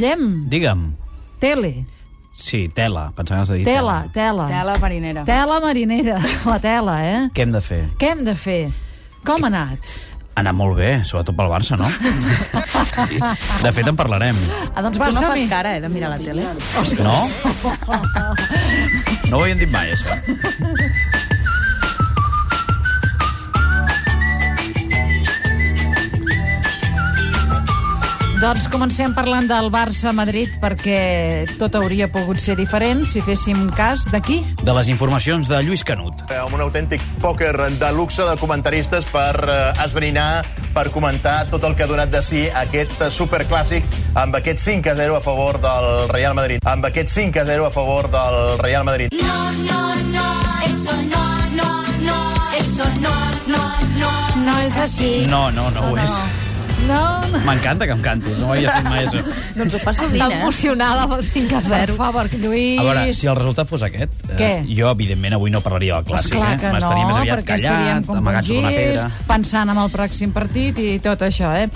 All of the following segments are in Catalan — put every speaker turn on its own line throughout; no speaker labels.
Guillem,
Digue'm.
tele,
Sí, tela. Pensava que has de dir
tela,
tela.
tela.
Tela marinera.
Tela marinera, la tela, eh?
Què hem de fer?
Què hem de fer? Com ha anat?
Anar molt bé, sobretot pel Barça, no? de fet, en parlarem.
Ah, doncs
Va,
tu no
som-hi.
fas cara, eh, de mirar la tele.
No? No ho havien dit mai, això.
Doncs comencem parlant del Barça-Madrid, perquè tot hauria pogut ser diferent si féssim cas d'aquí.
De les informacions de Lluís Canut.
Eh, amb un autèntic pòquer de luxe de comentaristes per eh, esbrinar, per comentar tot el que ha donat de si aquest eh, superclàssic amb aquest 5 a 0 a favor del Real Madrid. Amb aquest 5 a 0 a favor del Real Madrid.
No, no, no, eso no, no, no, eso no, no, no.
No és així.
No, no, no ho és.
No, no.
M'encanta que em cantis, no ho havia fet mai, això.
doncs ho fas sovint, eh?
emocionada pel 5 a 0. Per favor, Lluís.
A veure, si el resultat fos aquest, eh,
Què?
jo, evidentment, avui no parlaria del clàssic.
Esclar
eh?
que
M'estaria
no,
més aviat
perquè estaríem
callat, amagat sota una
compungits,
pedra.
pensant en el pròxim partit i tot això, eh?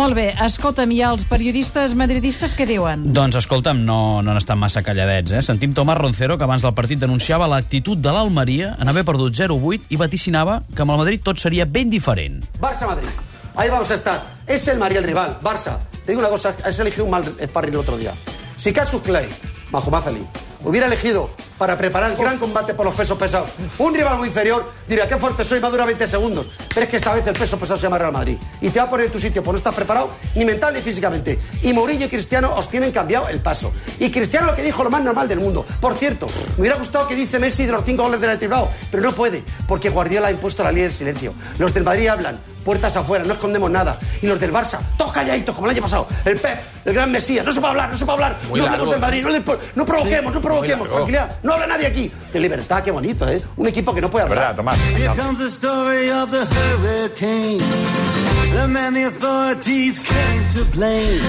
Molt bé, escolta'm, i els periodistes madridistes què diuen?
Doncs escolta'm, no, no han estat massa calladets, eh? Sentim Tomàs Roncero, que abans del partit denunciava l'actitud de l'Almeria en haver perdut 0-8 i vaticinava que amb el Madrid tot seria ben diferent.
Barça-Madrid. Ahí vamos a estar. Es el Mariel rival, Barça. Te digo una cosa, has elegido un mal sparring el otro día. Si Casus Clay, Majo Mazali, hubiera elegido para preparar el gran combate por los pesos pesados un rival muy inferior, diría, qué fuerte soy, va a durar 20 segundos. Pero es que esta vez el peso pesado se llama Real Madrid. Y te va a poner en tu sitio, pues no estás preparado ni mental ni físicamente. Y Mourinho y Cristiano os tienen cambiado el paso. Y Cristiano lo que dijo, lo más normal del mundo. Por cierto, me hubiera gustado que dice Messi de los cinco goles del Athletic Bilbao, pero no puede, porque Guardiola ha impuesto la ley del silencio. Los del Madrid hablan, puertas afuera, no escondemos nada. Y los del Barça, todos calladitos, como el año pasado. El Pep, el gran Mesías, no se puede hablar, no se puede hablar.
Muy
no hablemos
largo.
del Madrid, no, le po- no provoquemos, no provoquemos,
largo.
tranquilidad, no habla nadie aquí. De libertad, qué bonito, ¿eh? Un equipo que no puede hablar.
Tomás.
Here comes the story of the hurricane. The man the authorities came to blame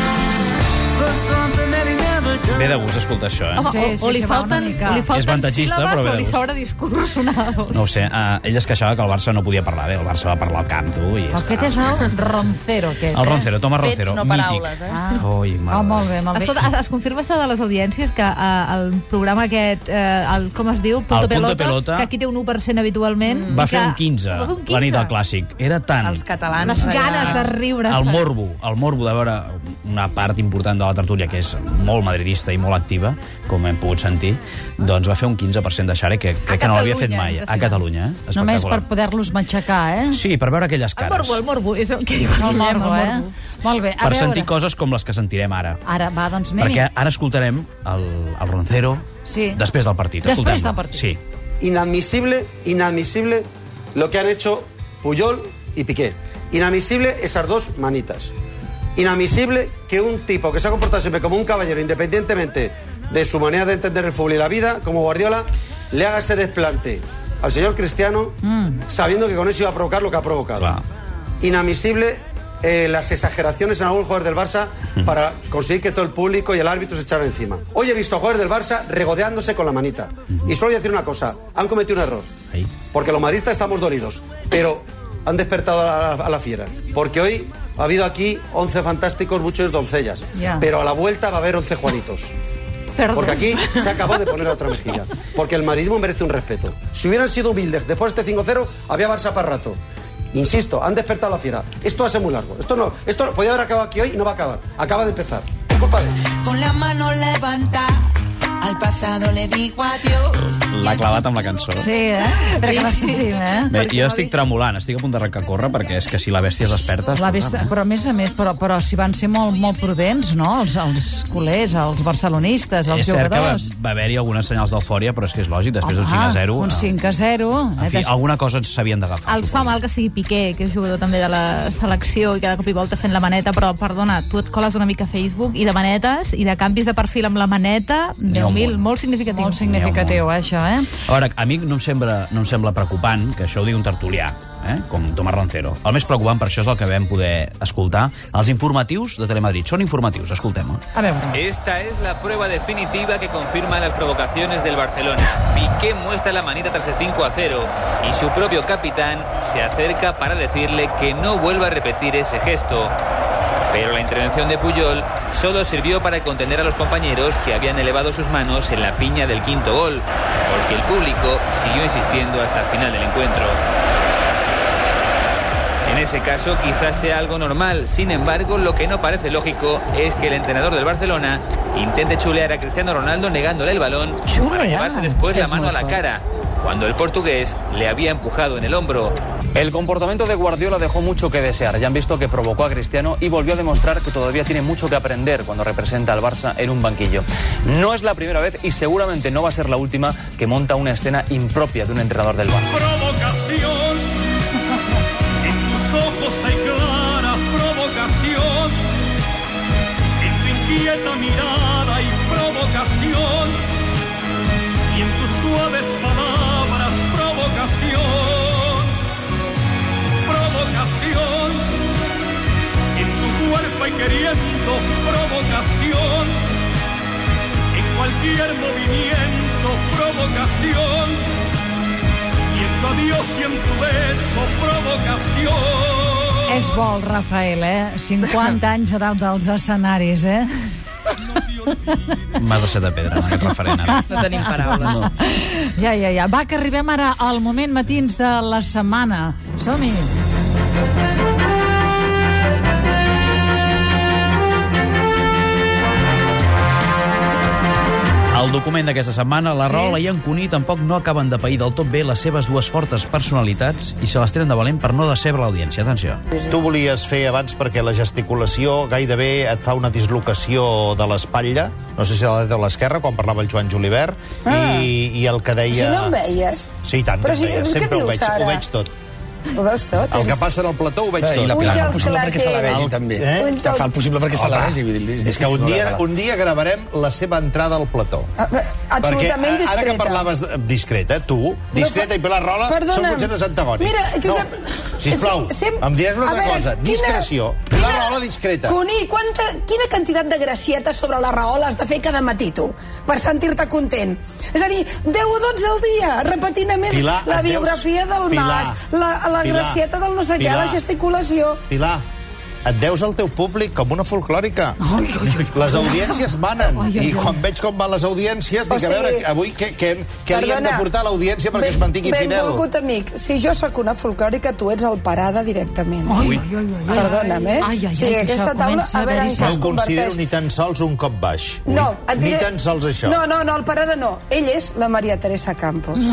for something that he never done.
Bé de gust escoltar això, eh?
Home,
Sí, sí,
o li
se va una
falten-
mica.
o li
És avantatgista, però doncs. bé de gust.
discurs una
No ho sé, eh, ell es queixava que el Barça no podia parlar. Bé, el Barça va parlar al camp, tu, i ja
Aquest
està.
és el Roncero, aquest.
El Roncero, Tomàs
Fets,
Roncero,
no
mític.
paraules, eh?
Ah.
Ui, mare
Oh,
de
molt bé,
Déu.
molt bé.
Escolta, es, es confirma això de les audiències, que eh, el programa aquest, eh, el, com es diu?
El Punto Pelota,
que aquí té un 1% habitualment.
Va
que,
fer un 15,
va fer un 15.
la nit del clàssic. Era tant...
Els catalans.
Les
allà.
ganes de riure.
El morbo, el morbo de veure una part important de la tertúlia que és molt madridista i molt activa, com hem pogut sentir, doncs va fer un 15% de share que crec que no l'havia fet
Catalunya,
mai. A
impressionant.
Catalunya, eh?
Només per
Espectacular.
poder-los matxacar, eh?
Sí, per veure aquelles
El
cares.
morbo, el morbo. És el que diu.
És el morbo, eh? Molt bé, a
Per
veure...
sentir coses com les que sentirem ara.
Ara, va, doncs anem-hi.
Perquè ara escoltarem el, el Roncero
Sí.
després del partit.
Després
Escoltem-lo.
del partit.
Sí.
Inadmisible, inadmisible lo que han hecho Puyol y Piqué. Inadmisible esas dos manitas. Inadmisible que un tipo que se ha comportado siempre como un caballero, independientemente de su manera de entender el fútbol y la vida, como Guardiola, le haga ese desplante al señor Cristiano, sabiendo que con eso iba a provocar lo que ha provocado.
Claro.
Inadmisible eh, las exageraciones en algún jugador del Barça para conseguir que todo el público y el árbitro se echaran encima. Hoy he visto a jugadores del Barça regodeándose con la manita. Y solo voy a decir una cosa, han cometido un error.
Ahí.
Porque los maristas estamos dolidos, pero han despertado a la, a la fiera. Porque hoy ha habido aquí 11 fantásticos, muchos doncellas.
Ya.
Pero a la vuelta va a haber 11 Juanitos.
Perdó.
Porque aquí se acabó de poner a otra mejilla. Porque el madridismo merece un respeto. Si hubieran sido humildes después de este 5-0, había Barça para rato. Insisto, han despertado la fiera. Esto va a ser muy largo. Esto no, esto no- podía haber acabado aquí hoy y no va a acabar. Acaba de empezar. Es culpa de él.
con la mano levanta. Al pasado le digo adiós.
L'ha clavat amb la cançó.
Sí, eh? Perquè la sentim, eh?
Bé, jo estic tremolant, estic a punt d'arrencar a córrer perquè és que si la bèstia es desperta...
La vista, però a més a més, però, però si van ser molt, molt prudents, no?, els, els culers, els barcelonistes,
És
els
cert que va,
jugadors.
va haver-hi algunes senyals d'eufòria, però és que és lògic, després d'un
Home,
5 a 0...
Un
eh,
5 a Eh, 0.
En fi, alguna cosa ens s'havien d'agafar.
Els fa
suposo.
mal que sigui Piqué, que és jugador també de la selecció i que de cop i volta fent la maneta, però, perdona, tu et coles una mica a Facebook i de manetes i de canvis de perfil amb la maneta,
N'hi ha un
10.000,
munt.
molt significatiu.
Molt significatiu, eh, això, eh?
A veure, a mi no em, sembla, no em sembla preocupant que això ho digui un tertulià, eh? com Tomàs Roncero. El més preocupant per això és el que vam poder escoltar als informatius de Telemadrid. Són informatius, escoltem-ho.
A veure...
Esta es la prueba definitiva que confirma las provocaciones del Barcelona. Piqué muestra la manita tras el 5 a 0 y su propio capitán se acerca para decirle que no vuelva a repetir ese gesto. Pero la intervención de Puyol solo sirvió para contener a los compañeros que habían elevado sus manos en la piña del quinto gol, porque el público siguió insistiendo hasta el final del encuentro. En ese caso quizás sea algo normal, sin embargo lo que no parece lógico es que el entrenador del Barcelona intente chulear a Cristiano Ronaldo negándole el balón para llevarse después la
Es
mano
muy
a la
fuerte.
cara, cuando el portugués le había empujado en el hombro.
El comportamiento de Guardiola dejó mucho que desear. Ya han visto que provocó a Cristiano y volvió a demostrar que todavía tiene mucho que aprender cuando representa al Barça en un banquillo. No es la primera vez y seguramente no va a ser la última que monta una escena impropia de un entrenador del Barça.
Provocación. En tus ojos hay clara provocación. En tu inquieta mirada hay provocación. Y en tus suaves palabras provocación. Provocación. En tu cuerpo y queriendo provocación. En cualquier movimiento provocación y en tu adiós y en tu beso provocación.
És bo el Rafael, eh? 50 anys a dalt dels escenaris, eh?
M'has deixat de pedra amb aquest referent. ara. No.
Ja, ja, ja. Va, que arribem ara al moment matins de la setmana. Som-hi.
Al document d'aquesta setmana, la Rola i en Cuní tampoc no acaben de pair del tot bé les seves dues fortes personalitats i se les tenen de valent per no decebre l'audiència. Atenció.
Tu volies fer abans perquè la gesticulació gairebé et fa una dislocació de l'espatlla, no sé si de la dreta o l'esquerra, quan parlava el Joan Julivert, ah. i, i el que deia...
Si no em veies?
Sí, i tant,
Però
que em
si-
veia.
què
Sempre ho
dius
veig,
ara?
ho veig tot.
Ho veus tot?
El que passa en el plató ho veig
Bé,
tot.
i la Pilar fa el possible perquè se la vegi,
El-
també.
Eh?
Ulls Que fa el possible perquè se la
Home,
vegi, vull dir, és
És que
difícil
un
no
dia,
veure-la.
un dia gravarem la seva entrada al plató. Perquè
absolutament
a- Ara
discreta.
que parlaves de- discreta, tu, discreta i Pilar Rola són
Perdona'm.
conceptes antagònics.
Mira, Josep... eh,
No, sisplau,
Sem-
em diràs una
A
altra
veure,
cosa.
quina-
Discreció. Pilar Rola, discreta.
Cuní, quanta, quina quantitat de gracietes sobre la raola has de fer cada matí, tu, per sentir-te content? És a dir, 10 o 12 al dia, repetint a més
Pilar,
la
et veus?
biografia del
Pilar,
Mas, la, la
Pilar,
gracieta del no sé què,
Pilar.
la gesticulació...
Pilar, et deus al teu públic com una folclòrica. Les audiències manen.
Ai, ai,
I
ai.
quan veig com van les audiències, dic, a
O
veure,
sigui,
avui què, què, què li hem de
Perdona.
portar a l'audiència perquè es mantingui
ben
fidel.
Benvolgut amic, si jo sóc una folclòrica, tu ets el parada directament.
Ai,
ai, ai, ai.
Perdona'm, eh?
Ai, ai, ai,
o sigui,
que
aquesta
això
taula,
comença
a veure en
No
què
ho
es
considero
converteix.
ni tan sols un cop baix.
No, et
Ni
diré...
tan sols això.
No, no, no, el parada no. Ell és la Maria Teresa Campos.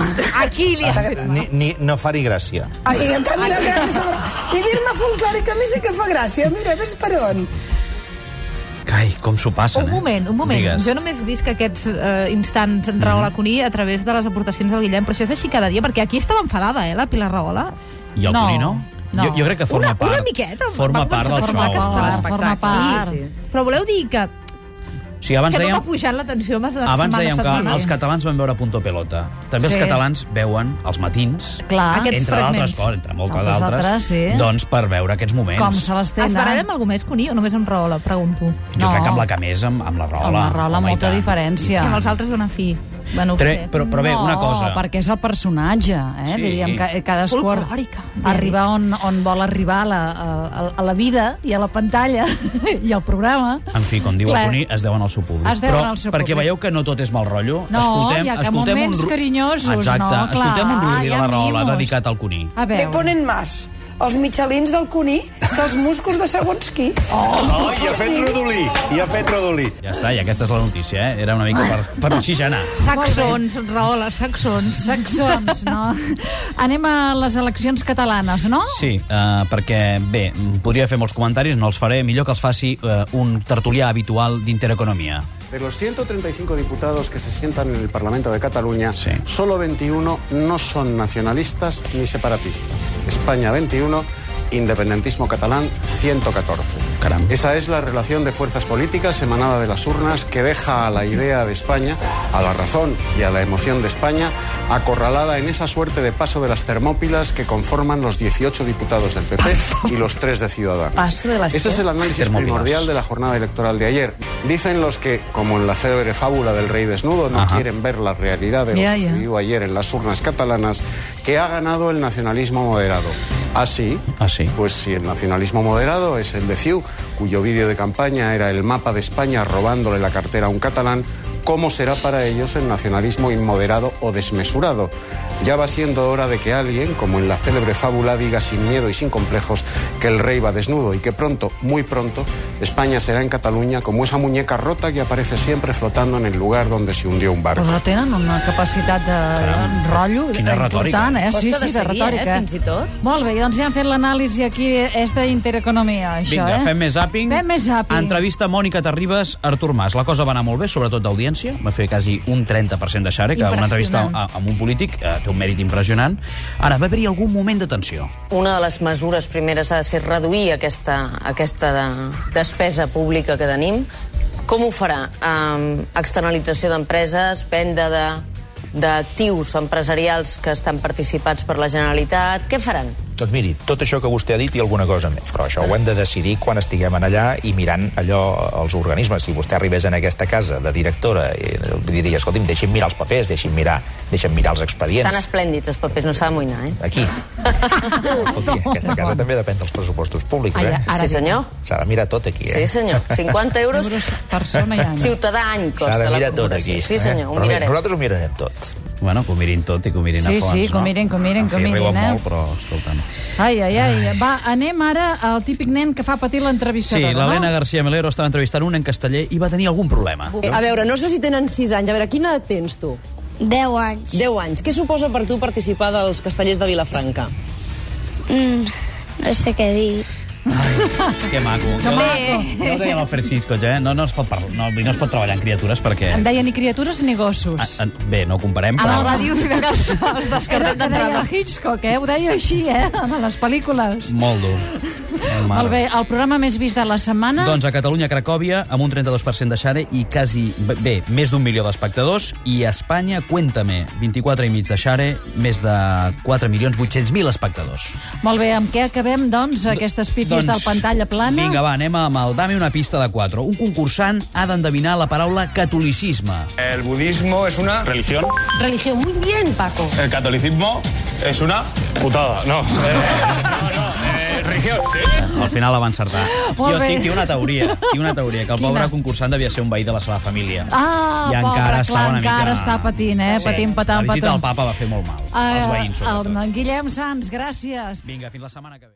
Aquí
Ah, ni, ni, no fa ni gràcia.
Ah, I en canvi la gràcia sobre... I dir-me folclòrica a mi sí que fa gràcia. Mira, ves per on.
Ai, com s'ho passen, eh?
Un moment, un moment.
Digues. Mhm.
Jo només visc aquests eh, instants Rahola Cuní a través de les aportacions del Guillem, però això és així cada dia, perquè aquí estava enfadada, eh, la Pilar Rahola.
I el
No,
Cuní no?
no.
Jo, jo crec que forma
Una-
part...
una miqueta.
Forma part del
Forma
show.
part, forma part.
Sí,
Sí, Però voleu dir que,
sí, abans
que no
dèiem...
m'ha pujat l'atenció amb les
Abans dèiem que
setmana.
els catalans van veure Punto Pelota. També
Sí.
els catalans veuen els matins,
Clar. Aquests
entre d'altres
fragments.
coses, entre moltes
Altres
d'altres,
altres, sí.
doncs per veure aquests moments.
Es baralla amb algú més, Cuní, o només amb Rahola? Pregunto.
Jo crec que amb la camisa, amb, amb la rola.
Amb la Rola,
home, i
molta
tant.
diferència.
Que amb els altres donen fi. Bueno, ho
Tre-
sé.
però- però bé, una cosa.
No, perquè és el personatge, eh?
Sí.
Sí. Diríem que cadascú ar- arribar on, on vol arribar a la, a, a la vida i a la pantalla i al programa.
En fi, com diu
Clar.
el Cuní, es deuen al seu públic.
Es deuen
Però
al seu
perquè
públic.
veieu que no tot és mal rotllo,
No,
escoltem,
hi ha que
escoltem
moments
un... ru-
carinyosos, no,
Exacte,
clar,
escoltem un rudi de
hi ha
la Rola
mimos.
dedicat al Cuní.
A veure.
Me ponen más els mitjalins del cuní que els músculs de segons qui.
Oh, i ha fet rodolí, i ha fet rodolí.
Ja està, i aquesta és la notícia, eh? Era una mica per, per oxigenar.
Saxons, Rahola, saxons.
Saxons, no? Anem a les eleccions catalanes, no?
Sí, eh, perquè, bé, mm, podria fer molts comentaris, no els faré, millor que els faci eh, un tertulià habitual d'Intereconomia.
De los 135 diputados que se sientan en el Parlamento de Cataluña, solo 21 no son nacionalistas ni separatistas. España 21, independentismo catalán 114. Esa es la relación de fuerzas políticas emanada de las urnas que deja a la idea de España, a la razón y a la emoción de España acorralada en esa suerte de paso de las termópilas que conforman los 18 diputados del PP y los 3 de Ciudadanos.
Paso de las
Ese es el análisis
Termópilas.
primordial de la jornada electoral de ayer. Dicen los que, como en la célebre fábula del rey desnudo, no quieren ver la realidad de lo
Ya, ya.
sucedido ayer en las urnas catalanas, que ha ganado el nacionalismo moderado. Así,
Así.
pues si el nacionalismo moderado es el de Ciu, cuyo vídeo de campaña era el mapa de España robándole la cartera a un catalán, ¿cómo será para ellos el nacionalismo inmoderado o desmesurado? Ya va siendo hora de que alguien, como en la célebre fábula, diga sin miedo y sin complejos que el rey va desnudo y que pronto, muy pronto, España será en Cataluña como esa muñeca rota que aparece siempre flotando en el lugar donde se hundió un barco.
Però tenen una capacitat de Caram. rotllo
Quina
important,
retòrica.
eh? Sí,
Costa de
sí, de
seguir,
retòrica.
eh, fins i tot.
Molt bé, doncs ja hem fet l'anàlisi aquí, és d'Intereconomia, això,
Vinga,
eh?
fem més zapping.
Fem més zapping.
Entrevista Mònica Terribas, Artur Mas. La cosa va anar molt bé, sobretot d'audiència. Va fer quasi un 30% de share, que una entrevista
Impressionant.
a- amb un polític eh, té un mèrit impressionant. Ara, va haver-hi algun moment de tensió.
Una de les mesures primeres ha de ser reduir aquesta, aquesta de, despesa pública que tenim. Com ho farà? Um, externalització d'empreses, venda de d'actius empresarials que estan participats per la Generalitat. Què faran?
Doncs miri, tot això que vostè ha dit i alguna cosa més, però això ho hem de decidir quan estiguem en allà i mirant allò als organismes. Si vostè arribés en aquesta casa de directora i diria, escolti'm, deixi'm mirar els papers, deixi'm mirar, deixi'm mirar els
Estan
expedients.
esplèndids els papers, no s'ha d'amoïnar, eh?
Aquí. Escolti, aquesta casa també depèn dels pressupostos públics,
Ara-
eh?
ara Sí, senyor.
S'ha de mirar tot aquí, eh?
Sí, senyor. 50 euros
persona i any.
ciutadà any
S'ha
costa
de
la
mirar tot
corporació.
aquí.
Sí, senyor,
eh?
ho
Però bé,
mirarem.
Nosaltres ho mirarem tot.
Bueno, que ho mirin tot i que ho mirin
Sí,
a fons,
sí, que ho
no?
mirin, que ho miren, que ho
Sí,
miren,
riuen
eh?
molt, però, escolta'm.
Ai, ai, ai. Va, anem ara al típic nen que fa patir
Sí,
l'entrevistadora,
l'Helena
no?
García Melero estava entrevistant un en casteller i va tenir algun problema.
Eh, A veure, no sé si tenen 6 anys. A veure, quina edat tens tu? 10 anys. 10 anys. Què suposa per tu participar dels castellers de Vilafranca?
Mm, no sé què dir.
Que maco.
Que maco.
Ja ho deia el Francisco, ja, eh? No, no, es pot parlar, no, no es pot treballar amb criatures perquè...
Em deia ni criatures ni gossos.
A, a, bé, no ho comparem, però...
Ara el ràdio, si de cas,
els descartem
Era el que deia
d'entrada.
Hitchcock, eh? Ho deia així, eh? A les pel·lícules.
Molt dur. Mare.
Molt bé, el programa més vist de la setmana...
Doncs a Catalunya, Cracòvia, amb un 32% de share i quasi, bé, més d'un milió d'espectadors. I a Espanya, Cuéntame, 24 i mig de share, més de 4.800.000 espectadors.
Molt bé, amb què acabem, doncs, aquestes pipis
doncs,
del pantalla plana?
Vinga, va, anem amb el Dame una pista de 4. Un concursant ha d'endevinar la paraula catolicisme.
Eh.
El budismo es una religión.
Religió, muy bien, Paco.
El catolicismo es una putada. No. religión.
Al final la va encertar.
Molt
jo
bé.
tinc, tinc una teoria, tinc una teoria, que el
Quina?
pobre concursant devia ser un veí de la seva família.
Ah,
I
pobre,
encara
clar,
estava una mica...
encara està patint, eh? Patint, patant,
La visita
patant.
del papa va fer molt mal, als
Ah,
veïns, sobretot.
el Guillem Sans, gràcies.
Vinga, fins la setmana que ve.